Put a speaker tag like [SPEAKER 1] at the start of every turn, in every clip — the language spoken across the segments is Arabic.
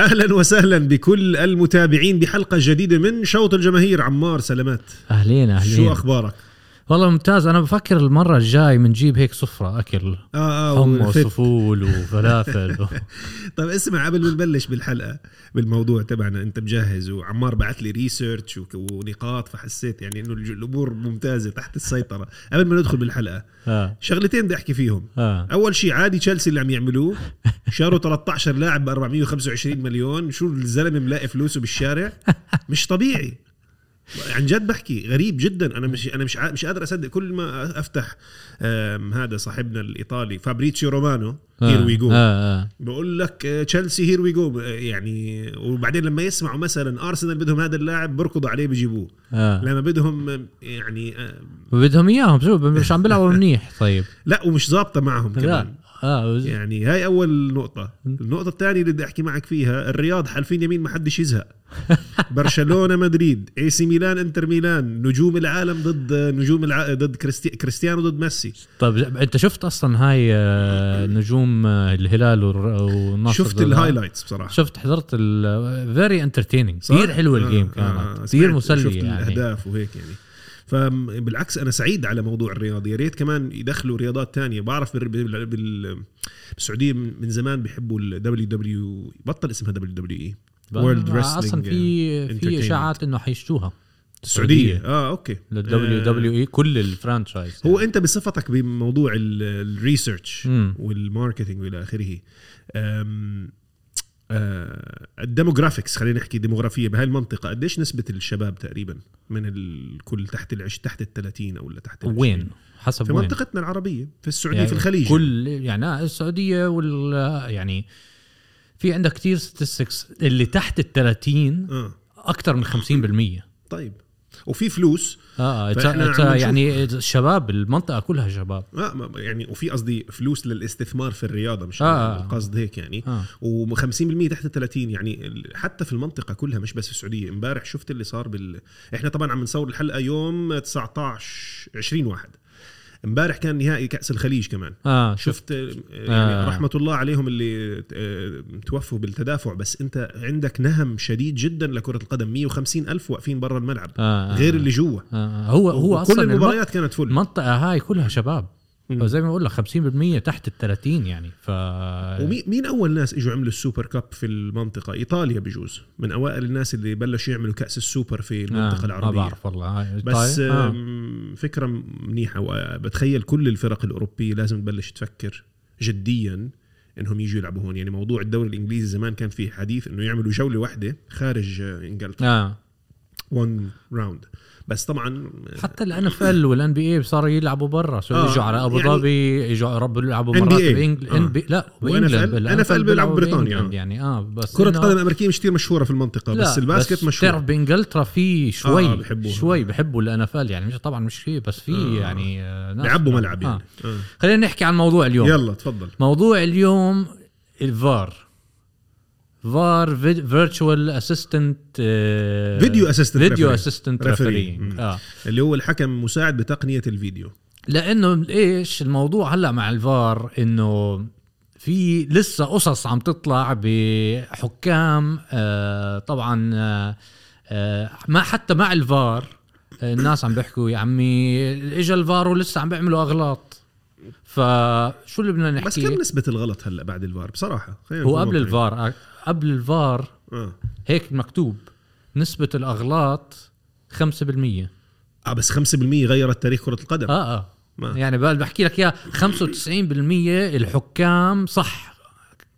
[SPEAKER 1] اهلا وسهلا بكل المتابعين بحلقه جديده من شوط الجماهير عمار سلامات
[SPEAKER 2] اهلين اهلين
[SPEAKER 1] شو اخبارك
[SPEAKER 2] والله ممتاز انا بفكر المره الجاي بنجيب هيك سفره اكل
[SPEAKER 1] اه اه
[SPEAKER 2] حمص
[SPEAKER 1] وفت.
[SPEAKER 2] وفول وفلافل
[SPEAKER 1] طيب اسمع قبل ما نبلش بالحلقه بالموضوع تبعنا انت مجهز وعمار بعت لي ريسيرش وك- ونقاط فحسيت يعني انه الج- الامور ممتازه تحت السيطره قبل ما ندخل بالحلقه
[SPEAKER 2] اه
[SPEAKER 1] شغلتين بدي احكي فيهم
[SPEAKER 2] اه
[SPEAKER 1] اول شيء عادي تشيلسي اللي عم يعملوه شاروا 13 لاعب ب 425 مليون شو الزلمه ملاقي فلوسه بالشارع مش طبيعي عن جد بحكي غريب جدا انا مش انا مش عا- مش قادر اصدق كل ما افتح آم، هذا صاحبنا الايطالي فابريتشيو رومانو هير وي جو
[SPEAKER 2] اه اه
[SPEAKER 1] بقول لك آه، تشيلسي هير وي جو يعني وبعدين لما يسمعوا مثلا ارسنال بدهم هذا اللاعب بركضوا عليه بجيبوه
[SPEAKER 2] اه
[SPEAKER 1] لما بدهم آم، يعني آم،
[SPEAKER 2] بدهم اياهم شوف مش عم بيلعبوا منيح طيب
[SPEAKER 1] لا ومش ظابطه معهم كمان
[SPEAKER 2] لا اه
[SPEAKER 1] يعني هاي اول نقطه النقطه الثانيه اللي بدي احكي معك فيها الرياض حالفين يمين ما حدش يزهق برشلونه مدريد اي سي ميلان انتر ميلان نجوم العالم ضد نجوم الع... ضد كريستي... كريستيانو ضد ميسي
[SPEAKER 2] طيب انت شفت اصلا هاي آه، نجوم آه، الهلال والر- والنصر
[SPEAKER 1] شفت
[SPEAKER 2] ذول؟
[SPEAKER 1] الهايلايتس بصراحه
[SPEAKER 2] شفت حضرت فيري انترتيننج
[SPEAKER 1] صح؟
[SPEAKER 2] كثير حلوه الجيم
[SPEAKER 1] آه،
[SPEAKER 2] كانت
[SPEAKER 1] آه،
[SPEAKER 2] كثير
[SPEAKER 1] سمعت- شفت
[SPEAKER 2] مسليه يعني
[SPEAKER 1] الاهداف وهيك يعني فبالعكس انا سعيد على موضوع الرياض يا ريت كمان يدخلوا رياضات تانية بعرف بال... بال... بال... بالسعوديه من زمان بيحبوا الدبليو دبليو E. بطل اسمها دبليو دبليو اي World
[SPEAKER 2] اصلا
[SPEAKER 1] Wrestling
[SPEAKER 2] في في
[SPEAKER 1] Entertainment.
[SPEAKER 2] اشاعات انه حيشتوها
[SPEAKER 1] السعوديه اه اوكي
[SPEAKER 2] للدبليو دبليو اي E كل الفرانشايز
[SPEAKER 1] آه.
[SPEAKER 2] يعني.
[SPEAKER 1] هو انت بصفتك بموضوع ال- الريسيرش
[SPEAKER 2] مم.
[SPEAKER 1] والماركتينج والى اخره أم، آه، الديموغرافيكس خلينا نحكي ديموغرافيه بهاي المنطقه قديش نسبه الشباب تقريبا من الكل تحت العش تحت ال 30 او لا تحت ال 20؟
[SPEAKER 2] وين حسب
[SPEAKER 1] إيه؟ في
[SPEAKER 2] وين
[SPEAKER 1] منطقتنا العربيه في السعوديه
[SPEAKER 2] يعني
[SPEAKER 1] في الخليج
[SPEAKER 2] كل يعني آه، السعوديه وال يعني في عندك كثير ستاتستكس اللي تحت ال 30
[SPEAKER 1] اه
[SPEAKER 2] اكثر من 50%
[SPEAKER 1] طيب وفي فلوس
[SPEAKER 2] اه it's-
[SPEAKER 1] فإحنا
[SPEAKER 2] it's-
[SPEAKER 1] عم نشوف-
[SPEAKER 2] يعني الشباب المنطقه كلها شباب
[SPEAKER 1] آه ما- يعني وفي قصدي فلوس للاستثمار في الرياضه مش
[SPEAKER 2] آه.
[SPEAKER 1] القصد هيك يعني
[SPEAKER 2] آه.
[SPEAKER 1] و50% تحت ال 30 يعني ال- حتى في المنطقه كلها مش بس في السعوديه امبارح شفت اللي صار بال احنا طبعا عم نصور الحلقه يوم 19 20 واحد امبارح كان نهائي كاس الخليج كمان
[SPEAKER 2] اه شوف
[SPEAKER 1] شفت آه، يعني
[SPEAKER 2] آه.
[SPEAKER 1] رحمه الله عليهم اللي آه، توفوا بالتدافع بس انت عندك نهم شديد جدا لكره القدم 150 الف واقفين برا الملعب
[SPEAKER 2] آه آه،
[SPEAKER 1] غير اللي جوا
[SPEAKER 2] آه آه، هو هو
[SPEAKER 1] كل
[SPEAKER 2] اصلا المنطقة-
[SPEAKER 1] المباريات كانت فل
[SPEAKER 2] المنطقه هاي كلها شباب
[SPEAKER 1] مم.
[SPEAKER 2] فزي ما بقول لك 50% تحت ال 30 يعني ف
[SPEAKER 1] ومين مين اول ناس اجوا عملوا السوبر كاب في المنطقه ايطاليا بجوز من اوائل الناس اللي بلشوا يعملوا كاس السوبر في المنطقه آه
[SPEAKER 2] ما
[SPEAKER 1] العربيه
[SPEAKER 2] بعرف والله هاي
[SPEAKER 1] بس
[SPEAKER 2] طيب. آه.
[SPEAKER 1] آم، فكره منيحه وبتخيل كل الفرق الاوروبيه لازم تبلش تفكر جديا انهم يجوا يلعبوا هون يعني موضوع الدوري الانجليزي زمان كان فيه حديث انه يعملوا جوله واحده خارج آه، انجلترا
[SPEAKER 2] اه
[SPEAKER 1] وان راوند بس طبعا
[SPEAKER 2] حتى الان اف ال والان بي اي صاروا يلعبوا برا سو
[SPEAKER 1] آه،
[SPEAKER 2] اجوا على ابو
[SPEAKER 1] يعني-
[SPEAKER 2] ظبي اجوا ربوا يلعبوا
[SPEAKER 1] NBA.
[SPEAKER 2] مرات بإنجل...
[SPEAKER 1] آه.
[SPEAKER 2] آه. بي... لا
[SPEAKER 1] و NFL
[SPEAKER 2] بإنجلند، بال-
[SPEAKER 1] NFL
[SPEAKER 2] NFL
[SPEAKER 1] بيلعبوا بريطانيا.
[SPEAKER 2] بإنجلند يعني اه بس
[SPEAKER 1] كره
[SPEAKER 2] إنه-
[SPEAKER 1] قدم امريكيه مش كثير مشهوره في المنطقه
[SPEAKER 2] لا
[SPEAKER 1] بس الباسكت مشهور
[SPEAKER 2] بتعرف بانجلترا في شوي
[SPEAKER 1] آه،
[SPEAKER 2] آه
[SPEAKER 1] بحبوها.
[SPEAKER 2] شوي بحبوا الان اف ال يعني مش طبعا مش في بس في
[SPEAKER 1] آه.
[SPEAKER 2] آه. يعني آه ناس
[SPEAKER 1] بيعبوا ملعب
[SPEAKER 2] آه.
[SPEAKER 1] يعني آه.
[SPEAKER 2] خلينا نحكي عن موضوع اليوم يلا.
[SPEAKER 1] يلا تفضل
[SPEAKER 2] موضوع اليوم الفار فار فيرتشوال اسيستنت آه،
[SPEAKER 1] فيديو assistant
[SPEAKER 2] فيديو
[SPEAKER 1] referee.
[SPEAKER 2] اسيستنت
[SPEAKER 1] Referee.
[SPEAKER 2] ريفري
[SPEAKER 1] مم.
[SPEAKER 2] اه
[SPEAKER 1] اللي هو الحكم مساعد بتقنيه الفيديو
[SPEAKER 2] لانه ايش الموضوع هلا مع الفار انه في لسه قصص عم تطلع بحكام آه طبعا آه آه ما حتى مع الفار آه، الناس عم بيحكوا يا عمي اجى الفار ولسه عم بيعملوا اغلاط فشو اللي بدنا
[SPEAKER 1] بس كم
[SPEAKER 2] نحكي
[SPEAKER 1] نسبة الغلط هلا بعد الفار بصراحة خلينا
[SPEAKER 2] هو
[SPEAKER 1] نكون
[SPEAKER 2] قبل
[SPEAKER 1] واقعيين.
[SPEAKER 2] الفار آه، قبل الفار
[SPEAKER 1] آه.
[SPEAKER 2] هيك مكتوب نسبة الأغلاط 5% اه
[SPEAKER 1] اه بس 5% غيرت تاريخ كرة القدم
[SPEAKER 2] اه
[SPEAKER 1] ما.
[SPEAKER 2] يعني بقى بحكي لك اياها 95% الحكام صح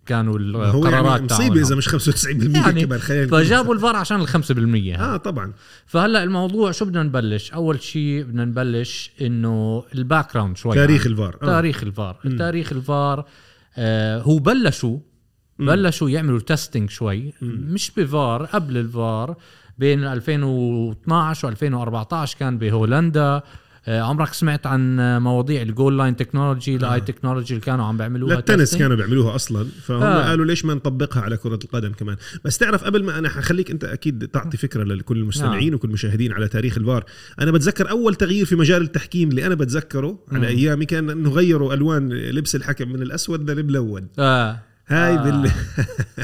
[SPEAKER 2] كانوا
[SPEAKER 1] هو
[SPEAKER 2] القرارات
[SPEAKER 1] يعني مصيبة إذا
[SPEAKER 2] تاعونهم
[SPEAKER 1] مش 95%
[SPEAKER 2] يعني
[SPEAKER 1] كمان خلينا نكون-
[SPEAKER 2] فجابوا الفار عشان ال 5%
[SPEAKER 1] اه
[SPEAKER 2] آه.
[SPEAKER 1] طبعا
[SPEAKER 2] فهلا الموضوع شو بدنا نبلش؟ اول شيء بدنا نبلش انه الباك جراوند شوي
[SPEAKER 1] تاريخ
[SPEAKER 2] يعني.
[SPEAKER 1] الفار آه.
[SPEAKER 2] تاريخ الفار تاريخ الفار آه هو بلشوا بلشوا يعملوا تيستينج شوي مش بفار قبل الفار بين 2012 و2014 كان بهولندا آه، عمرك سمعت عن آه، مواضيع الجول لاين تكنولوجي الاي تكنولوجي اللي كانوا عم بيعملوها
[SPEAKER 1] آه. للتنس
[SPEAKER 2] testing؟
[SPEAKER 1] كانوا بيعملوها اصلا فهم آه.
[SPEAKER 2] آه.
[SPEAKER 1] قالوا ليش ما نطبقها على كرة القدم كمان بس تعرف قبل ما انا حخليك انت اكيد تعطي فكرة لكل
[SPEAKER 2] نعم.
[SPEAKER 1] المستمعين آه. وكل المشاهدين على تاريخ الفار انا بتذكر اول تغيير في مجال التحكيم اللي انا بتذكره على ايامي كان انه غيروا الوان لبس الحكم من الاسود للابيض
[SPEAKER 2] اه
[SPEAKER 1] هاي
[SPEAKER 2] آه.
[SPEAKER 1] آه. بال...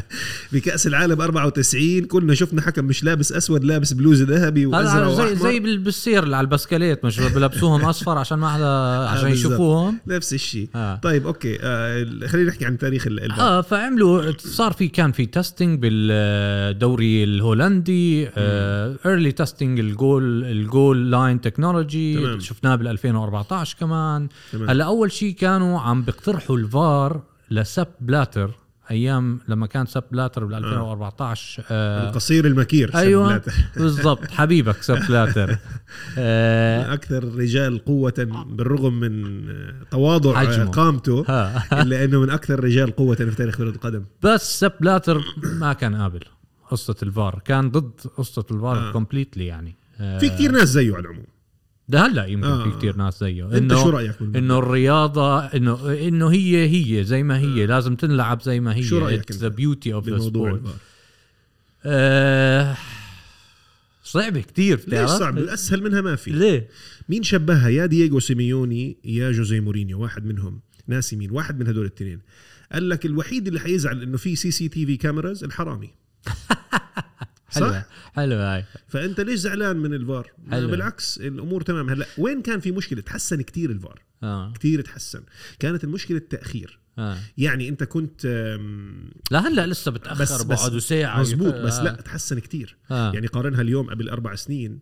[SPEAKER 1] بكاس العالم 94 كلنا شفنا حكم مش لابس اسود لابس بلوز ذهبي
[SPEAKER 2] هلا
[SPEAKER 1] وازرق
[SPEAKER 2] زي
[SPEAKER 1] واحمر
[SPEAKER 2] زي بال- بالسير اللي على البسكليت مش بلبسوهم اصفر عشان ما حدا عشان
[SPEAKER 1] بالظبط.
[SPEAKER 2] يشوفوهم
[SPEAKER 1] نفس الشيء
[SPEAKER 2] آه.
[SPEAKER 1] آه. طيب اوكي آه ال- خلينا نحكي عن تاريخ ال... ال-
[SPEAKER 2] اه فعملوا صار في كان في تيستينج بالدوري الهولندي آه، ايرلي تيستينج الجول الجول لاين تكنولوجي
[SPEAKER 1] تمام.
[SPEAKER 2] شفناه بال 2014 كمان
[SPEAKER 1] تمام.
[SPEAKER 2] هلا اول شيء كانوا عم بيقترحوا الفار لسب بلاتر ايام لما كان سب بلاتر
[SPEAKER 1] آه.
[SPEAKER 2] بال 2014 آه
[SPEAKER 1] القصير المكير
[SPEAKER 2] ايوه
[SPEAKER 1] شبلات.
[SPEAKER 2] بالضبط حبيبك سب بلاتر آه
[SPEAKER 1] اكثر الرجال قوه بالرغم من آه، تواضع آه،
[SPEAKER 2] حجمه.
[SPEAKER 1] قامته
[SPEAKER 2] ها.
[SPEAKER 1] الا انه من اكثر الرجال قوه في تاريخ كره القدم
[SPEAKER 2] بس سب بلاتر ما كان قابل قصه الفار كان ضد قصه الفار
[SPEAKER 1] آه.
[SPEAKER 2] كومبليتلي يعني آه،
[SPEAKER 1] في كثير ناس زيه على العموم
[SPEAKER 2] ده هلا يمكن
[SPEAKER 1] آه.
[SPEAKER 2] في كتير ناس زيه
[SPEAKER 1] انت شو
[SPEAKER 2] انه
[SPEAKER 1] رايك بالموضوع؟
[SPEAKER 2] انه الرياضه انه انه هي هي زي ما هي لازم تنلعب زي ما هي
[SPEAKER 1] آه. شو رأيك
[SPEAKER 2] ذا
[SPEAKER 1] أنت
[SPEAKER 2] بيوتي اوف ذا
[SPEAKER 1] بالموضوع
[SPEAKER 2] سبورت
[SPEAKER 1] الفار؟
[SPEAKER 2] آه، صعبه كثير
[SPEAKER 1] ليش صعب؟ الاسهل منها ما في
[SPEAKER 2] ليه؟
[SPEAKER 1] مين شبهها يا دييغو سيميوني يا جوزي مورينيو واحد منهم ناسي مين واحد من هدول الاثنين قال لك الوحيد اللي حيزعل انه في سي سي تي في كاميراز الحرامي
[SPEAKER 2] حلوه حلوه هاي
[SPEAKER 1] فانت ليش زعلان من الفار
[SPEAKER 2] حلو.
[SPEAKER 1] بالعكس الامور تمام هلا وين كان في مشكله تحسن كتير الفار
[SPEAKER 2] آه.
[SPEAKER 1] كتير تحسن كانت المشكله التاخير
[SPEAKER 2] آه.
[SPEAKER 1] يعني انت كنت آم،
[SPEAKER 2] لهلا لسه بتاخر
[SPEAKER 1] بس- بس-
[SPEAKER 2] بقعدوا ساعه
[SPEAKER 1] مزبوط
[SPEAKER 2] آه.
[SPEAKER 1] بس لا تحسن كتير
[SPEAKER 2] آه. يعني
[SPEAKER 1] يعني قارنها اليوم قبل اربع سنين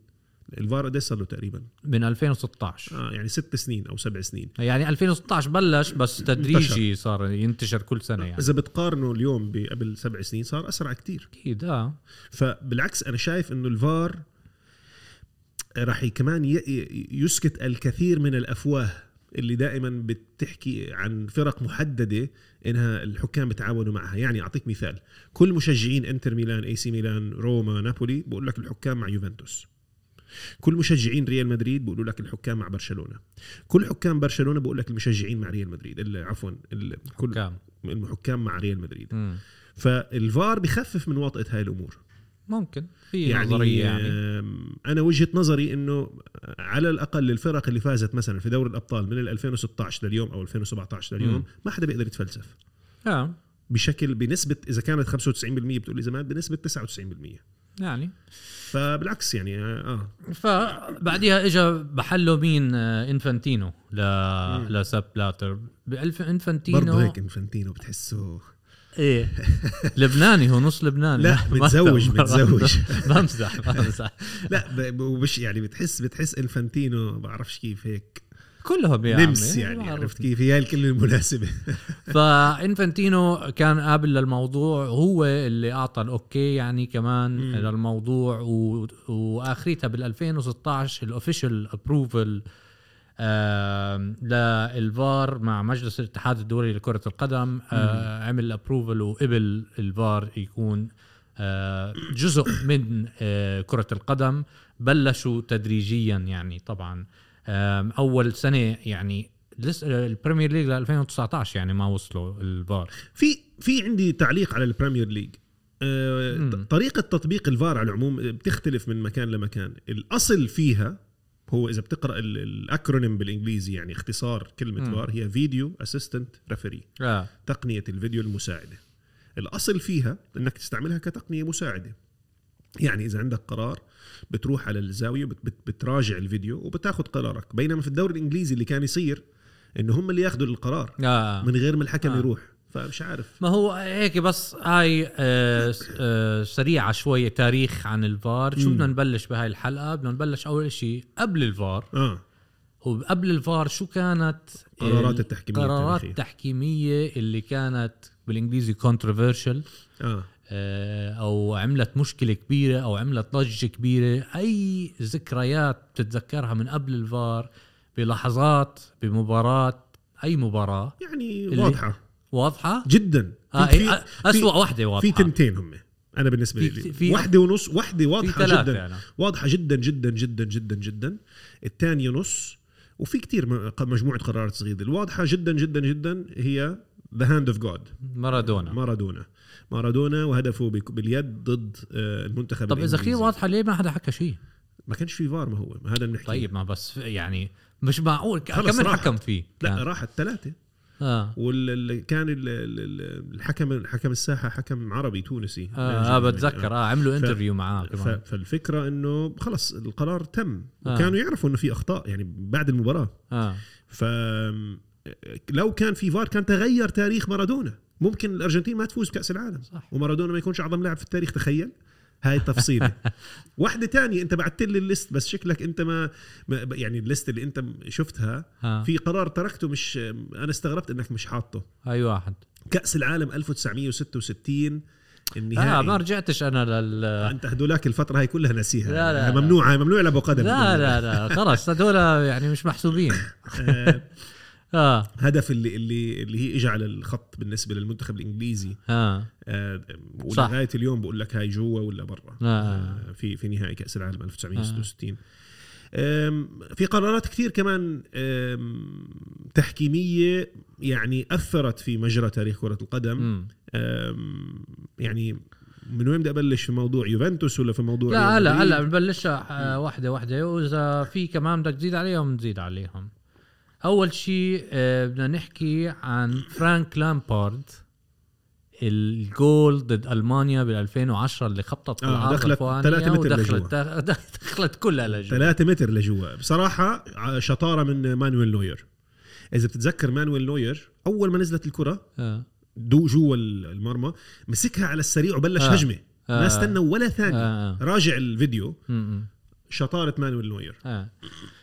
[SPEAKER 1] الفار قد إيش صار له تقريبا
[SPEAKER 2] من 2016
[SPEAKER 1] آه يعني ست سنين او سبع سنين
[SPEAKER 2] يعني 2016 بلش بس تدريجي صار ينتشر كل سنه يعني
[SPEAKER 1] اذا بتقارنه اليوم قبل سبع سنين صار اسرع كتير
[SPEAKER 2] اكيد اه
[SPEAKER 1] فبالعكس انا شايف انه الفار راح كمان ي- ي- يسكت الكثير من الافواه اللي دائما بتحكي عن فرق محدده انها الحكام بتعاونوا معها يعني اعطيك مثال كل مشجعين انتر ميلان اي سي ميلان روما نابولي بقول لك الحكام مع يوفنتوس كل مشجعين ريال مدريد بيقولوا لك الحكام مع برشلونه كل حكام برشلونه بقول لك المشجعين مع ريال مدريد ال- عفوا ال- كل
[SPEAKER 2] كام
[SPEAKER 1] الحكام مع ريال مدريد
[SPEAKER 2] مم.
[SPEAKER 1] فالفار بخفف من وطئه هاي الامور
[SPEAKER 2] ممكن في يعني
[SPEAKER 1] يعني,
[SPEAKER 2] نظريه يعني
[SPEAKER 1] آم، انا وجهه نظري انه على الاقل الفرق اللي فازت مثلا في دوري الابطال من ال 2016 لليوم او 2017 لليوم
[SPEAKER 2] مم.
[SPEAKER 1] ما حدا بيقدر يتفلسف
[SPEAKER 2] آه.
[SPEAKER 1] بشكل بنسبه اذا كانت 95% بتقول لي زمان بنسبه 99%
[SPEAKER 2] يعني
[SPEAKER 1] فبالعكس يعني اه
[SPEAKER 2] فبعديها اجى محله مين آه، انفانتينو ل لسب بلاتر بألف انفانتينو
[SPEAKER 1] برضه هيك انفانتينو بتحسه
[SPEAKER 2] ايه لبناني هو نص لبناني
[SPEAKER 1] لا،
[SPEAKER 2] ما- ما-
[SPEAKER 1] متزوج،
[SPEAKER 2] ما-
[SPEAKER 1] متزوج.
[SPEAKER 2] بمزح بمزح
[SPEAKER 1] لا ب- ب- ومش يعني بتحس بتحس انفانتينو بعرفش كيف هيك
[SPEAKER 2] كلهم يا عمي
[SPEAKER 1] نمس يعني
[SPEAKER 2] بعرف.
[SPEAKER 1] عرفت كيف هي الكلمه المناسبه
[SPEAKER 2] فانفانتينو كان قابل للموضوع هو اللي اعطى الاوكي يعني كمان مم. للموضوع و... واخرتها بال 2016 الاوفيشال ابروفل للفار مع مجلس الاتحاد الدولي لكرة القدم آه عمل ابروفل وقبل الفار يكون آه، جزء من آه، كرة القدم بلشوا تدريجيا يعني طبعا آم، اول سنة يعني لسه البريمير ليج ل 2019 يعني ما وصلوا الفار
[SPEAKER 1] في في عندي تعليق على البريمير ليج آه،
[SPEAKER 2] مم.
[SPEAKER 1] ط- طريقة تطبيق الفار على العموم بتختلف من مكان لمكان الأصل فيها هو إذا بتقرأ ال- الأكرونيم بالإنجليزي يعني اختصار كلمة
[SPEAKER 2] مم.
[SPEAKER 1] فار هي فيديو أسيستنت ريفري
[SPEAKER 2] آه.
[SPEAKER 1] تقنية الفيديو المساعدة الأصل فيها أنك تستعملها كتقنية مساعدة يعني إذا عندك قرار بتروح على الزاوية بت- بت- بتراجع الفيديو وبتاخد قرارك بينما في الدوري الإنجليزي اللي كان يصير إن هم اللي ياخدوا القرار
[SPEAKER 2] آه.
[SPEAKER 1] من غير ما الحكم
[SPEAKER 2] آه.
[SPEAKER 1] يروح فمش عارف
[SPEAKER 2] ما هو هيك بس هاي آه، س- آه، سريعة شوية تاريخ عن الفار شو
[SPEAKER 1] مم.
[SPEAKER 2] بدنا نبلش بهاي الحلقة بدنا نبلش أول شيء قبل الفار
[SPEAKER 1] اه
[SPEAKER 2] وقبل الفار شو كانت
[SPEAKER 1] قرارات
[SPEAKER 2] ال-
[SPEAKER 1] التحكيمية
[SPEAKER 2] قرارات
[SPEAKER 1] التاريخية.
[SPEAKER 2] التحكيمية اللي كانت بالإنجليزي controversial
[SPEAKER 1] اه
[SPEAKER 2] آه، او عملت مشكله كبيره او عملت ضجه كبيره اي ذكريات بتتذكرها من قبل الفار بلحظات بمباراه اي مباراه
[SPEAKER 1] يعني
[SPEAKER 2] اللي-
[SPEAKER 1] واضحه
[SPEAKER 2] واضحه
[SPEAKER 1] جدا
[SPEAKER 2] آه
[SPEAKER 1] في-
[SPEAKER 2] إيه،
[SPEAKER 1] في-
[SPEAKER 2] اسوا وحده واضحه
[SPEAKER 1] في تنتين هم انا بالنسبه
[SPEAKER 2] في-
[SPEAKER 1] لي
[SPEAKER 2] في-
[SPEAKER 1] واحده ونص واحده
[SPEAKER 2] في
[SPEAKER 1] واضحه
[SPEAKER 2] ثلاثه
[SPEAKER 1] جدا
[SPEAKER 2] يعني.
[SPEAKER 1] واضحه جدا جدا جدا جدا جدا الثانيه نص وفي كتير م- ق- مجموعه قرارات صغيره الواضحه جدا جدا جدا هي ذا هاند اوف جاد
[SPEAKER 2] مارادونا
[SPEAKER 1] مارادونا مارادونا وهدفه بك- باليد ضد آه، المنتخب
[SPEAKER 2] طب اذا كثير
[SPEAKER 1] الإنجليزي.
[SPEAKER 2] واضحه ليه ما حدا حكى شيء
[SPEAKER 1] ما كانش في فار ما هو ما هذا اللي بنحكي
[SPEAKER 2] طيب ما بس يعني مش معقول ك-
[SPEAKER 1] خلص
[SPEAKER 2] كم
[SPEAKER 1] راحت.
[SPEAKER 2] حكم فيه
[SPEAKER 1] لا
[SPEAKER 2] كان.
[SPEAKER 1] راحت ثلاثه
[SPEAKER 2] اه
[SPEAKER 1] واللي كان ال- ال- ال- الحكم حكم الساحه حكم عربي تونسي يعني.
[SPEAKER 2] اه, آه بتذكر اه عملوا انترفيو معاه
[SPEAKER 1] ف...
[SPEAKER 2] كمان
[SPEAKER 1] فالفكره انه خلص القرار تم
[SPEAKER 2] آه.
[SPEAKER 1] وكانوا يعرفوا انه في اخطاء يعني بعد المباراه
[SPEAKER 2] اه
[SPEAKER 1] ف لو كان في فار كان تغير تاريخ مارادونا ممكن الارجنتين ما تفوز بكاس العالم
[SPEAKER 2] صح.
[SPEAKER 1] ومارادونا ما يكونش اعظم لاعب في التاريخ تخيل هاي التفصيلة واحدة تانية انت بعت لي الليست بس شكلك انت ما ما- يعني الليست اللي انت شفتها
[SPEAKER 2] آه.
[SPEAKER 1] في قرار تركته مش انا استغربت انك مش حاطه
[SPEAKER 2] اي واحد
[SPEAKER 1] كأس العالم 1966
[SPEAKER 2] لا آه
[SPEAKER 1] النهائي
[SPEAKER 2] ما رجعتش انا لل
[SPEAKER 1] انت هدولاك الفترة هاي كلها ناسيها
[SPEAKER 2] لا، لا، لا.
[SPEAKER 1] ممنوعة ممنوع لابو قدم
[SPEAKER 2] لا لا لا خلص هذول يعني مش محسوبين
[SPEAKER 1] آه،
[SPEAKER 2] اه
[SPEAKER 1] هدف اللي اللي اللي هي اجى على الخط بالنسبة للمنتخب الانجليزي
[SPEAKER 2] اه
[SPEAKER 1] آه،
[SPEAKER 2] صح.
[SPEAKER 1] ولغايه اليوم بقول لك هاي جوا ولا برا
[SPEAKER 2] آه.
[SPEAKER 1] آه، في في نهائي كاس العالم 1966
[SPEAKER 2] آه.
[SPEAKER 1] آم، في قرارات كثير كمان آم، تحكيميه يعني اثرت في مجرى تاريخ كره القدم
[SPEAKER 2] مم.
[SPEAKER 1] آم، يعني من وين بدي ابلش في موضوع يوفنتوس ولا في موضوع
[SPEAKER 2] لا
[SPEAKER 1] ريال
[SPEAKER 2] هلا
[SPEAKER 1] مدريد؟
[SPEAKER 2] هلا بنبلشها آه، وحده وحده واذا في كمان بدك تزيد عليهم نزيد عليهم اول شيء آه، بدنا نحكي عن فرانك لامبارد الجول ضد المانيا بال 2010 اللي خبطت
[SPEAKER 1] آه،
[SPEAKER 2] بالعارضه
[SPEAKER 1] دخلت
[SPEAKER 2] الفوقانية
[SPEAKER 1] ثلاثة متر
[SPEAKER 2] ودخلت دخلت كلها لجوا
[SPEAKER 1] ثلاثة متر لجوا بصراحة ع- شطارة من مانويل نوير إذا بتتذكر مانويل نوير أول ما نزلت الكرة
[SPEAKER 2] آه.
[SPEAKER 1] دو جوا المرمى مسكها على السريع وبلش
[SPEAKER 2] آه.
[SPEAKER 1] آه. هجمه آه.
[SPEAKER 2] آه.
[SPEAKER 1] ما استنى ولا ثانيه آه.
[SPEAKER 2] آه.
[SPEAKER 1] راجع الفيديو
[SPEAKER 2] آه.
[SPEAKER 1] شطاره مانويل نوير
[SPEAKER 2] آه.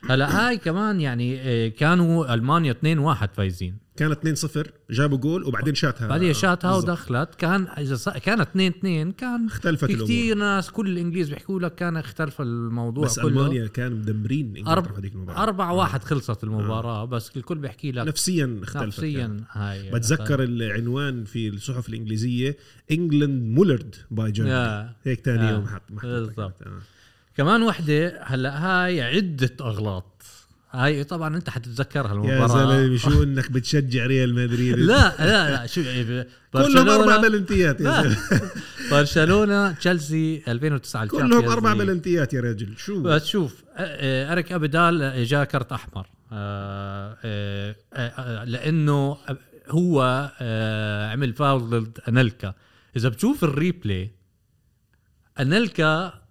[SPEAKER 2] هلا هاي كمان يعني آه، كانوا المانيا 2-1 فايزين
[SPEAKER 1] كان 2-0 جابوا جول وبعدين شاتها
[SPEAKER 2] آه. بعدين شاتها
[SPEAKER 1] آه، بالضبط.
[SPEAKER 2] ودخلت كان اذا ص- كانت 2 2 كان
[SPEAKER 1] اختلفت
[SPEAKER 2] في
[SPEAKER 1] الامور
[SPEAKER 2] كثير ناس كل الانجليز بيحكوا لك كان اختلف الموضوع
[SPEAKER 1] بس
[SPEAKER 2] كله
[SPEAKER 1] المانيا كان مدمرين انجلترا
[SPEAKER 2] أرب-
[SPEAKER 1] في هذيك المباراه
[SPEAKER 2] أربعة واحد خلصت المباراه بس الكل بيحكي لك
[SPEAKER 1] نفسيا آه. اختلفت يعني.
[SPEAKER 2] نفسيا هاي
[SPEAKER 1] بتذكر العنوان في الصحف الانجليزيه انجلند مولرد باي جيرمان
[SPEAKER 2] آه.
[SPEAKER 1] هيك ثاني
[SPEAKER 2] آه.
[SPEAKER 1] يوم حط محطوط.
[SPEAKER 2] بالضبط.
[SPEAKER 1] آه.
[SPEAKER 2] كمان وحده هلا هاي عده اغلاط هاي طبعا انت حتتذكرها
[SPEAKER 1] يا
[SPEAKER 2] المباراه
[SPEAKER 1] زلمه شو انك بتشجع ريال مدريد
[SPEAKER 2] لا لا لا شو إيه،
[SPEAKER 1] كلهم اربع
[SPEAKER 2] برشلونه
[SPEAKER 1] بلنتيات يا
[SPEAKER 2] لا.
[SPEAKER 1] زلمه
[SPEAKER 2] برشلونه تشيلسي 2009
[SPEAKER 1] كلهم
[SPEAKER 2] الشامبيونز
[SPEAKER 1] اربع
[SPEAKER 2] ليج.
[SPEAKER 1] بلنتيات يا رجل شو
[SPEAKER 2] بس شوف آه، آه، اريك ابدال جاء كرت احمر آه، آه، آه، لانه هو آه، عمل فاول ضد انلكا اذا بتشوف الريبلاي انلكا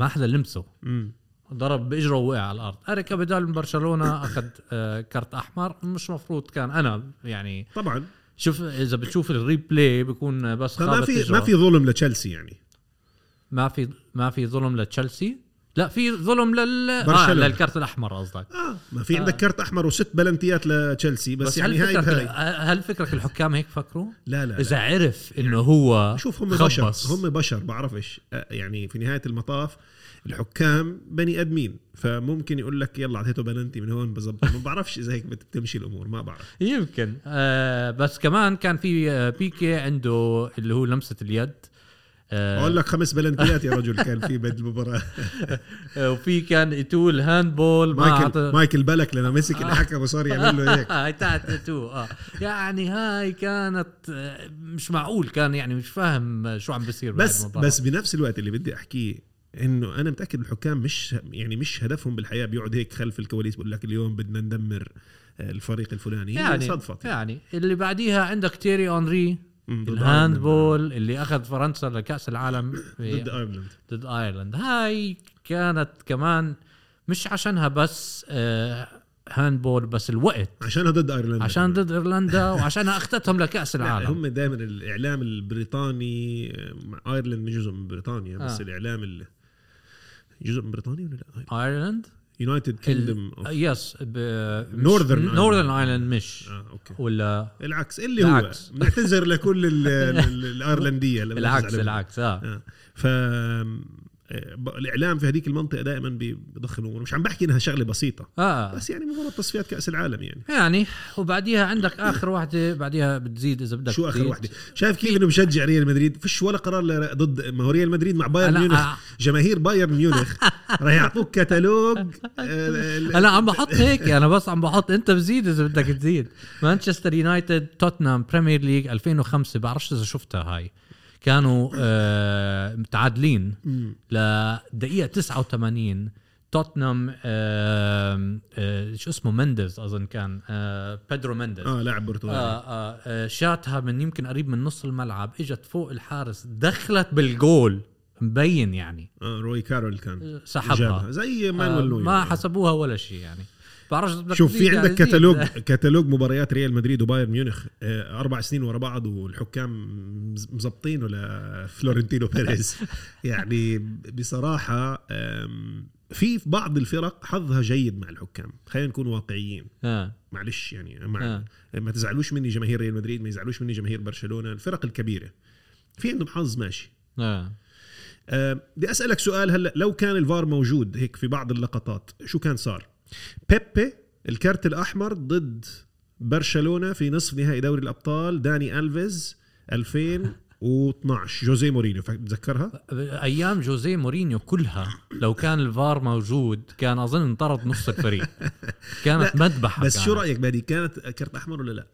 [SPEAKER 2] ما حدا لمسه
[SPEAKER 1] مم.
[SPEAKER 2] ضرب باجره ووقع على الارض اريك ابدال من برشلونه اخذ آه، كرت احمر مش مفروض كان انا يعني
[SPEAKER 1] طبعا
[SPEAKER 2] شوف اذا بتشوف الريبلاي بيكون بس
[SPEAKER 1] فما
[SPEAKER 2] خابت
[SPEAKER 1] في
[SPEAKER 2] إجره.
[SPEAKER 1] ما في ظلم لتشيلسي يعني
[SPEAKER 2] ما في ما في ظلم لتشيلسي لا في ظلم لل آه
[SPEAKER 1] برشلونة.
[SPEAKER 2] للكرت الاحمر قصدك
[SPEAKER 1] اه ما في عندك كرت احمر وست بلنتيات لتشيلسي بس,
[SPEAKER 2] آه. بس,
[SPEAKER 1] يعني
[SPEAKER 2] هل
[SPEAKER 1] هاي
[SPEAKER 2] فكرك
[SPEAKER 1] بهاي
[SPEAKER 2] هل فكرك الحكام هيك فكروا؟
[SPEAKER 1] لا لا,
[SPEAKER 2] اذا
[SPEAKER 1] لا.
[SPEAKER 2] عرف انه هو
[SPEAKER 1] شوف هم بشر
[SPEAKER 2] خبص.
[SPEAKER 1] هم بشر بعرفش آه، يعني في نهايه المطاف الحكام بني ادمين فممكن يقول لك يلا اعطيته بلنتي من هون بظبط ما بعرفش اذا هيك بتمشي الامور ما بعرف
[SPEAKER 2] يمكن آه بس كمان كان في آه، بيكي عنده اللي هو لمسه اليد آه
[SPEAKER 1] اقول لك خمس بلنتيات يا رجل كان في بد المباراه
[SPEAKER 2] آه، وفي كان اتول هاندبول ما آه.
[SPEAKER 1] مايكل
[SPEAKER 2] عطى
[SPEAKER 1] مايكل بالك لما مسك الحكم وصار يعمل له هيك
[SPEAKER 2] آه، هاي تاعت اتو اه يعني هاي كانت آه، مش معقول كان يعني مش فاهم شو عم بيصير
[SPEAKER 1] بس
[SPEAKER 2] بهالمباراة.
[SPEAKER 1] بس بنفس الوقت اللي بدي احكيه انه انا متاكد الحكام مش يعني مش هدفهم بالحياه بيقعد هيك خلف الكواليس بيقول لك اليوم بدنا ندمر الفريق الفلاني يعني
[SPEAKER 2] يعني
[SPEAKER 1] صدفت
[SPEAKER 2] يعني اللي بعديها عندك تيري اونري
[SPEAKER 1] مم، ضد
[SPEAKER 2] الهاندبول اللي اخذ فرنسا لكاس العالم في-
[SPEAKER 1] ضد ايرلند
[SPEAKER 2] ضد ايرلند هاي كانت كمان مش عشانها بس آه، هاندبول بس الوقت
[SPEAKER 1] عشانها ضد ايرلند
[SPEAKER 2] عشان ضد ايرلندا وعشانها اخذتهم لكاس
[SPEAKER 1] لا
[SPEAKER 2] العالم
[SPEAKER 1] هم دائما الاعلام البريطاني مع ايرلند من جزء من بريطانيا بس
[SPEAKER 2] آه.
[SPEAKER 1] آه. الاعلام ال... جزء من بريطانيا ولا لا؟
[SPEAKER 2] ايرلند
[SPEAKER 1] يونايتد كيندم
[SPEAKER 2] ال- آه، يس
[SPEAKER 1] Northern Ireland.
[SPEAKER 2] نورذرن ايرلند مش
[SPEAKER 1] اه اوكي
[SPEAKER 2] ولا
[SPEAKER 1] العكس اللي
[SPEAKER 2] العكس.
[SPEAKER 1] هو بنعتذر لكل ال- ال- الايرلنديه لما
[SPEAKER 2] العكس
[SPEAKER 1] نزعل منهم.
[SPEAKER 2] العكس اه
[SPEAKER 1] آه. ف آه، ب- الاعلام في هذيك المنطقه دائما بي- بضخم الامور مش عم بحكي انها شغله بسيطه
[SPEAKER 2] اه
[SPEAKER 1] بس يعني مجرد تصفيات كاس العالم يعني
[SPEAKER 2] يعني وبعديها عندك اخر واحده بعديها بتزيد اذا بدك
[SPEAKER 1] شو اخر
[SPEAKER 2] تزيد.
[SPEAKER 1] وحده شايف كيف انه مشجع ريال مدريد فيش ولا قرار ل- ضد ما هو ريال مدريد مع بايرن
[SPEAKER 2] أنا-
[SPEAKER 1] ميونخ
[SPEAKER 2] آه.
[SPEAKER 1] جماهير بايرن ميونخ راح يعطوك كتالوج آه، ال-
[SPEAKER 2] انا عم بحط هيك انا بس عم بحط انت بزيد اذا بدك تزيد مانشستر يونايتد توتنهام بريمير ليج 2005 بعرفش اذا شفتها هاي كانوا آه متعادلين لدقيقه 89 توتنهام آم، آه، شو اسمه مندز اظن كان آه، بيدرو مندز
[SPEAKER 1] اه لاعب برتغالي
[SPEAKER 2] آه آه آه شاتها من يمكن قريب من نص الملعب اجت فوق الحارس دخلت بالجول مبين يعني
[SPEAKER 1] اه روي كارول كان جابها
[SPEAKER 2] سحبها
[SPEAKER 1] زي
[SPEAKER 2] آه
[SPEAKER 1] مانويل نوير
[SPEAKER 2] ما حسبوها ولا شيء يعني بعرفش بدك
[SPEAKER 1] شوف في
[SPEAKER 2] تزيد يعني،
[SPEAKER 1] عندك
[SPEAKER 2] زيد.
[SPEAKER 1] كتالوج كتالوج مباريات ريال مدريد وبايرن ميونخ آه، اربع سنين ورا بعض والحكام مز- مزبطينه لفلورنتينو بيريز يعني بصراحه آم، في بعض الفرق حظها جيد مع الحكام خلينا نكون واقعيين
[SPEAKER 2] آه
[SPEAKER 1] معلش يعني مع
[SPEAKER 2] آه
[SPEAKER 1] ما تزعلوش مني جماهير ريال مدريد ما يزعلوش مني جماهير برشلونه الفرق الكبيره في عندهم حظ ماشي
[SPEAKER 2] آه
[SPEAKER 1] آه، بدي اسالك سؤال هلا لو كان الفار موجود هيك في بعض اللقطات شو كان صار؟ بيبي الكرت الاحمر ضد برشلونه في نصف نهائي دوري الابطال داني الفيز 2012 جوزيه مورينيو فاك- بتذكرها؟
[SPEAKER 2] ايام جوزيه مورينيو كلها لو كان الفار موجود كان اظن انطرد نص الفريق كانت مذبحه
[SPEAKER 1] بس شو
[SPEAKER 2] كانت.
[SPEAKER 1] رايك بادي كانت كرت احمر ولا لا؟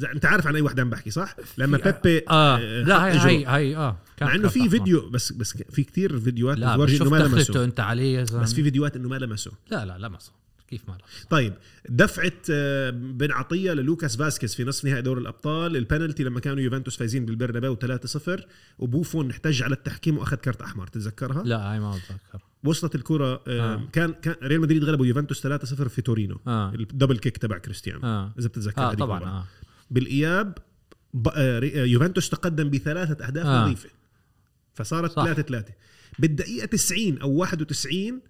[SPEAKER 1] إذا- انت عارف عن اي وحده عم بحكي صح؟ لما بيبي
[SPEAKER 2] اه
[SPEAKER 1] آه،
[SPEAKER 2] لا
[SPEAKER 1] حط
[SPEAKER 2] هي
[SPEAKER 1] إجره.
[SPEAKER 2] هي هي اه كانت
[SPEAKER 1] مع انه في
[SPEAKER 2] كانت أحمر.
[SPEAKER 1] فيديو بس بس في كثير فيديوهات
[SPEAKER 2] لا
[SPEAKER 1] بتورجي
[SPEAKER 2] بس
[SPEAKER 1] انه
[SPEAKER 2] شفت
[SPEAKER 1] ما
[SPEAKER 2] دخلته
[SPEAKER 1] لمسه
[SPEAKER 2] انت عليه يا زلمه
[SPEAKER 1] بس في فيديوهات انه ما لمسه
[SPEAKER 2] لا لا لمسه كيف ما لمسه
[SPEAKER 1] طيب دفعه آه، بن عطيه للوكاس فاسكيز في نصف نهائي دوري الابطال البنالتي لما كانوا يوفنتوس فايزين بالبرنابيو 3-0 وبوفون احتج على التحكيم واخذ كرت احمر تتذكرها
[SPEAKER 2] لا هاي ما بتذكر
[SPEAKER 1] وصلت الكره آه.
[SPEAKER 2] آه.
[SPEAKER 1] كان كان ريال مدريد غلبوا يوفنتوس 3-0 في تورينو
[SPEAKER 2] اه
[SPEAKER 1] الدبل كيك تبع كريستيانو
[SPEAKER 2] اه
[SPEAKER 1] اذا بتتذكر
[SPEAKER 2] اه
[SPEAKER 1] هذيك
[SPEAKER 2] طبعا
[SPEAKER 1] المباراة.
[SPEAKER 2] اه
[SPEAKER 1] بالاياب ب... آه، ري- آه، يوفنتوس تقدم بثلاثه اهداف آه.
[SPEAKER 2] آه.
[SPEAKER 1] نظيفه فصارت
[SPEAKER 2] صح.
[SPEAKER 1] 3 3 بالدقيقه 90 او 91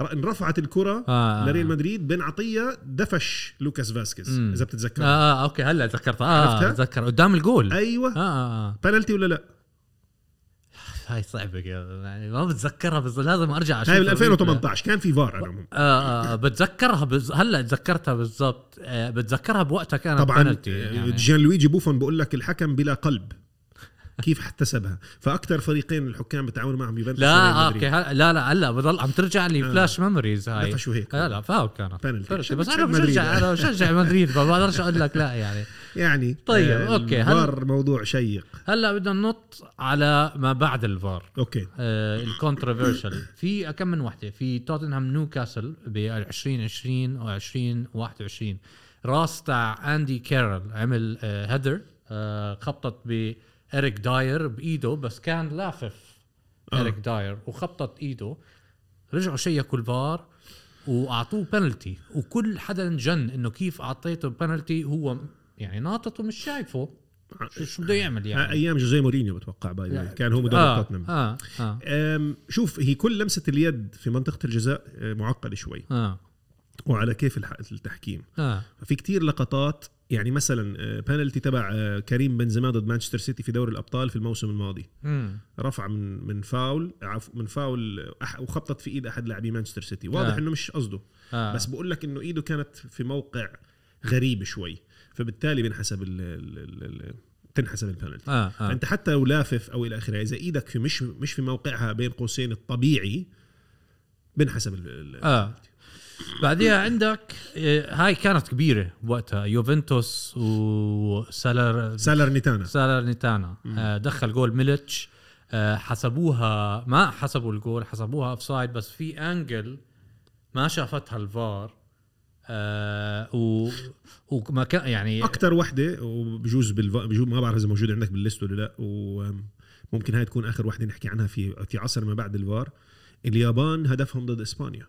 [SPEAKER 1] ر- انرفعت الكره
[SPEAKER 2] آه.
[SPEAKER 1] آه. لريال مدريد بن عطيه دفش لوكاس فاسكيز
[SPEAKER 2] مم.
[SPEAKER 1] اذا
[SPEAKER 2] آه،
[SPEAKER 1] بتتذكر آه.
[SPEAKER 2] اه اوكي هلا تذكرت اه
[SPEAKER 1] عرفتها؟
[SPEAKER 2] تذكر قدام الجول آه
[SPEAKER 1] ايوه آه.
[SPEAKER 2] آه آه.
[SPEAKER 1] بنالتي ولا لا
[SPEAKER 2] هاي صعبة كده، يعني ما بتذكرها بس لازم ارجع اشوف
[SPEAKER 1] هاي بال 2018 كان في فار على العموم
[SPEAKER 2] آه آه بتذكرها بز... هلا تذكرتها بالضبط آه بتذكرها بوقتها كانت
[SPEAKER 1] طبعا
[SPEAKER 2] penalty يعني.
[SPEAKER 1] جيان لويجي آه، بوفون بقول لك الحكم بلا قلب كيف احتسبها فاكثر فريقين الحكام بتعاونوا معهم يوفنتوس
[SPEAKER 2] لا
[SPEAKER 1] وريال
[SPEAKER 2] آه
[SPEAKER 1] مدريد.
[SPEAKER 2] اوكي هلا لا لا هلا بضل عم ترجع لي
[SPEAKER 1] آه.
[SPEAKER 2] فلاش ميموريز هاي
[SPEAKER 1] دفشوا هيك
[SPEAKER 2] لا لا فاول كانت
[SPEAKER 1] Penalty.
[SPEAKER 2] penalty. بس انا
[SPEAKER 1] عشان مدريد.
[SPEAKER 2] بشجع انا بشجع مدريد فما بقدرش اقول لك لا يعني
[SPEAKER 1] يعني
[SPEAKER 2] طيب،
[SPEAKER 1] آه،
[SPEAKER 2] أوكي، هل-
[SPEAKER 1] الفار موضوع شيق
[SPEAKER 2] هلا بدنا ننط على ما بعد الفار
[SPEAKER 1] اوكي
[SPEAKER 2] الكونتروفيرشل آه، في كم من وحده في توتنهام نيوكاسل ب 2020 و 2021 راس تاع اندي كارل عمل هيدر خبطت بإريك داير بايده بس كان لافف
[SPEAKER 1] آه.
[SPEAKER 2] إريك داير وخبطت ايده رجعوا شيكوا الفار واعطوه بنالتي وكل حدا انجن انه كيف اعطيته بنالتي هو يعني ناطط ومش شايفه شو- شو بده يعمل
[SPEAKER 1] يعني.
[SPEAKER 2] يعني
[SPEAKER 1] ايام جوزيه مورينيو بتوقع باي ذا
[SPEAKER 2] لا.
[SPEAKER 1] واي. كان هو مدرب آه.
[SPEAKER 2] اه
[SPEAKER 1] توتنهام
[SPEAKER 2] اه اه
[SPEAKER 1] أم، شوف هي كل لمسه اليد في منطقه الجزاء أه، معقده شوي
[SPEAKER 2] اه
[SPEAKER 1] وعلى كيف الح- التحكيم
[SPEAKER 2] اه
[SPEAKER 1] في كتير لقطات يعني مثلا أه، بنالتي تبع أه، كريم بنزيما ضد مانشستر سيتي في دوري الابطال في الموسم الماضي
[SPEAKER 2] امم
[SPEAKER 1] رفع من من فاول عفو من فاول أح- وخبطت في ايد احد لاعبي مانشستر سيتي واضح
[SPEAKER 2] آه.
[SPEAKER 1] انه مش قصده
[SPEAKER 2] آه.
[SPEAKER 1] بس بقول لك انه ايده كانت في موقع غريب شوي فبالتالي بنحسب ال ال ال ال تنحسب البنالتي
[SPEAKER 2] آه.
[SPEAKER 1] آه.
[SPEAKER 2] آه.
[SPEAKER 1] انت حتى لو لافف او الى اخره اذا ايدك في مش مش في موقعها بين قوسين الطبيعي بنحسب ال- ال-
[SPEAKER 2] اه بعديها عندك آه، هاي كانت كبيره وقتها يوفنتوس وسالر
[SPEAKER 1] سالرنيتانا
[SPEAKER 2] سالرنيتانا آه دخل جول ميليتش آه حسبوها ما حسبوا الجول حسبوها اوفسايد بس في انجل ما شافتها الفار آه و وما كان يعني
[SPEAKER 1] اكثر وحده وبجوز بالف... بجوز ما بعرف اذا موجوده عندك بالليست ولا لا وممكن هاي تكون اخر وحده نحكي عنها في في عصر ما بعد الفار اليابان هدفهم ضد اسبانيا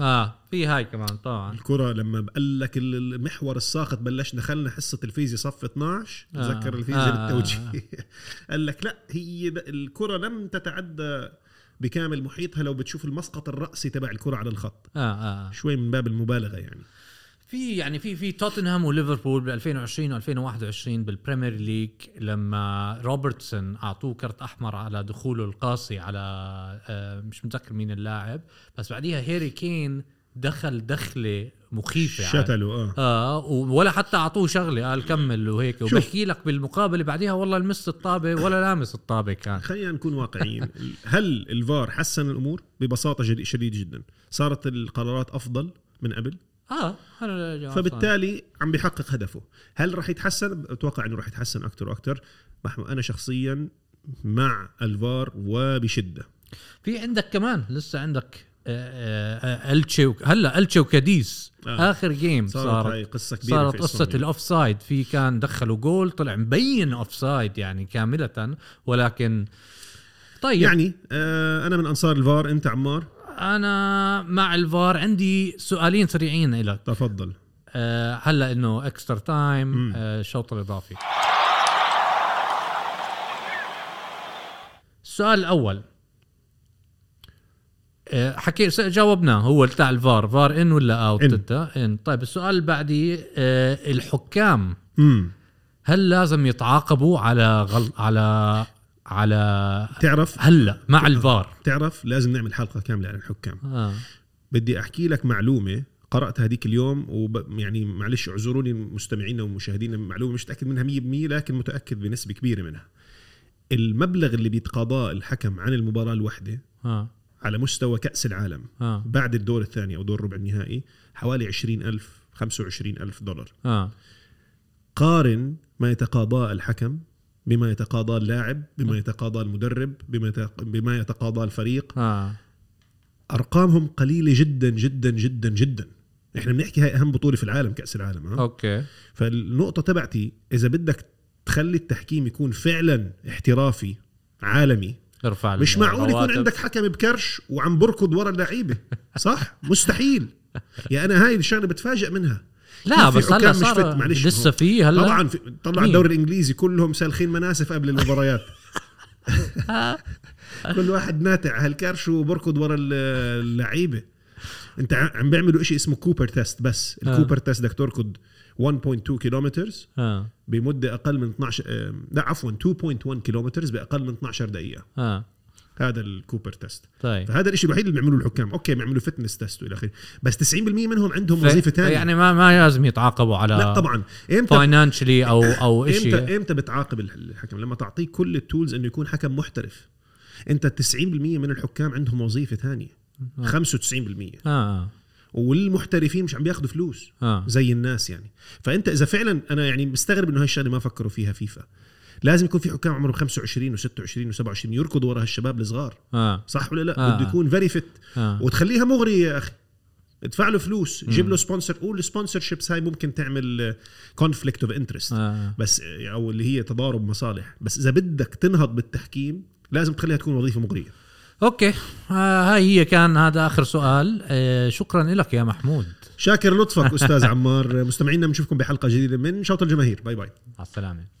[SPEAKER 2] اه في هاي كمان طبعا
[SPEAKER 1] الكره لما قال لك ال- المحور الساقط بلش دخلنا حصه الفيزياء صف 12
[SPEAKER 2] آه.
[SPEAKER 1] تذكر الفيزياء
[SPEAKER 2] آه.
[SPEAKER 1] آه. بالتوجيه قال لك لا هي د- الكره لم تتعدى بكامل محيطها لو بتشوف المسقط الراسي تبع الكره على الخط
[SPEAKER 2] اه اه
[SPEAKER 1] شوي من باب المبالغه يعني
[SPEAKER 2] في يعني في في توتنهام وليفربول ب 2020 و 2021 بالبريمير ليج لما روبرتسون اعطوه كرت احمر على دخوله القاسي على آه، مش متذكر مين اللاعب بس بعديها هيري كين دخل دخله مخيفه يعني.
[SPEAKER 1] شتلوا اه
[SPEAKER 2] اه و- ولا حتى اعطوه شغله قال كمل وهيك
[SPEAKER 1] شوف.
[SPEAKER 2] وبحكي لك بالمقابله بعديها والله لمست الطابه ولا لامس الطابه كان
[SPEAKER 1] خلينا نكون واقعيين هل الفار حسن الامور ببساطه جد- شديده جدا صارت القرارات افضل من قبل
[SPEAKER 2] اه أنا-
[SPEAKER 1] فبالتالي عم بيحقق هدفه هل راح يتحسن اتوقع انه راح يتحسن اكثر واكثر محمود انا شخصيا مع الفار وبشده
[SPEAKER 2] في عندك كمان لسه عندك آه، آه، التشي وك- هلا التشي وكاديس
[SPEAKER 1] آه.
[SPEAKER 2] اخر جيم
[SPEAKER 1] صارت
[SPEAKER 2] صارت
[SPEAKER 1] هاي قصه كبيره
[SPEAKER 2] صارت
[SPEAKER 1] في
[SPEAKER 2] قصة
[SPEAKER 1] إسبانيا.
[SPEAKER 2] الاوف سايد في كان دخلوا جول طلع مبين اوف سايد يعني كاملة ولكن طيب يعني
[SPEAKER 1] يعني آه انا من انصار الفار انت عمار
[SPEAKER 2] انا مع الفار عندي سؤالين سريعين لك
[SPEAKER 1] تفضل
[SPEAKER 2] أه هلا انه اكسترا تايم
[SPEAKER 1] مم.
[SPEAKER 2] أه الشوط الاضافي السؤال الاول أه حكي س- جاوبنا هو بتاع الفار فار ان ولا اوت
[SPEAKER 1] إن.
[SPEAKER 2] انت ان طيب السؤال اللي بعدي أه الحكام
[SPEAKER 1] امم
[SPEAKER 2] هل لازم يتعاقبوا على غل... على على
[SPEAKER 1] تعرف
[SPEAKER 2] هلا مع الفار
[SPEAKER 1] تعرف لازم نعمل حلقه كامله عن الحكام
[SPEAKER 2] آه.
[SPEAKER 1] بدي احكي لك معلومه قراتها هذيك اليوم وب... يعني معلش اعذروني مستمعينا ومشاهدينا معلومه مش متاكد منها 100% لكن متاكد بنسبه كبيره منها المبلغ اللي بيتقاضاه الحكم عن المباراه الواحده
[SPEAKER 2] آه.
[SPEAKER 1] على مستوى كاس العالم
[SPEAKER 2] آه.
[SPEAKER 1] بعد الدور الثاني او دور الربع النهائي حوالي 20000 25000 دولار
[SPEAKER 2] اه
[SPEAKER 1] قارن ما يتقاضاه الحكم بما يتقاضاه اللاعب بما يتقاضاه المدرب بما يتق- بما يتقاضاه الفريق
[SPEAKER 2] اه
[SPEAKER 1] ارقامهم قليله جدا جدا جدا جدا احنا بنحكي هاي اهم بطوله في العالم كاس العالم ها
[SPEAKER 2] اوكي
[SPEAKER 1] فالنقطه تبعتي اذا بدك تخلي التحكيم يكون فعلا احترافي عالمي
[SPEAKER 2] ارفع
[SPEAKER 1] مش معقول يكون
[SPEAKER 2] الرواتب.
[SPEAKER 1] عندك حكم بكرش وعم بركض ورا اللعيبه صح مستحيل يا انا هاي الشغله بتفاجئ منها
[SPEAKER 2] لا
[SPEAKER 1] في
[SPEAKER 2] بس
[SPEAKER 1] حكام
[SPEAKER 2] هلا
[SPEAKER 1] مش فت-
[SPEAKER 2] صار
[SPEAKER 1] معلش
[SPEAKER 2] لسه في هلا
[SPEAKER 1] طبعا في طلع
[SPEAKER 2] مين؟
[SPEAKER 1] الدوري الانجليزي كلهم سالخين مناسف قبل المباريات كل واحد ناتع هالكرش وبركض ورا ال- اللعيبه انت ع- عم بيعملوا شيء اسمه كوبر تيست بس
[SPEAKER 2] آه.
[SPEAKER 1] الكوبر تيست بدك تركض 1.2 كيلومترز
[SPEAKER 2] اه
[SPEAKER 1] بمده اقل من 12 آم، لا عفوا 2.1 كيلومترز باقل من 12 دقيقه
[SPEAKER 2] اه
[SPEAKER 1] هذا الكوبر تيست
[SPEAKER 2] طيب
[SPEAKER 1] فهذا الشيء الوحيد اللي بيعملوه الحكام اوكي بيعملوا فتنس تيست والى اخره بس 90% منهم عندهم
[SPEAKER 2] ف-
[SPEAKER 1] وظيفه ثانيه يعني
[SPEAKER 2] يعني آه، ما ما لازم يتعاقبوا على
[SPEAKER 1] لا طبعا امتى
[SPEAKER 2] فاينانشلي او او شيء
[SPEAKER 1] امتى امتى بتعاقب الحكم لما تعطيه كل التولز انه يكون حكم محترف انت 90% من الحكام عندهم وظيفه ثانيه
[SPEAKER 2] آه.
[SPEAKER 1] 95%
[SPEAKER 2] اه
[SPEAKER 1] والمحترفين مش عم بياخذوا فلوس
[SPEAKER 2] اه
[SPEAKER 1] زي الناس يعني فانت اذا فعلا انا يعني مستغرب انه هاي الشغله ما فكروا فيها فيفا لازم يكون في حكام عمرهم 25 و26 و27 يركضوا ورا هالشباب الصغار
[SPEAKER 2] اه
[SPEAKER 1] صح ولا لا
[SPEAKER 2] آه.
[SPEAKER 1] بده يكون فيري فيت
[SPEAKER 2] اه
[SPEAKER 1] وتخليها مغري يا اخي ادفع له فلوس جيب له سبونسر قول سبونسرشيبس هاي ممكن تعمل كونفليكت اوف انترست
[SPEAKER 2] آه.
[SPEAKER 1] بس او اللي هي تضارب مصالح بس اذا بدك تنهض بالتحكيم لازم تخليها تكون وظيفه مغريه
[SPEAKER 2] اوكي آه هاي هي كان هذا اخر سؤال آه شكرا لك يا محمود
[SPEAKER 1] شاكر لطفك استاذ عمار مستمعينا بنشوفكم بحلقه جديده من شوط الجماهير باي باي
[SPEAKER 2] مع السلامه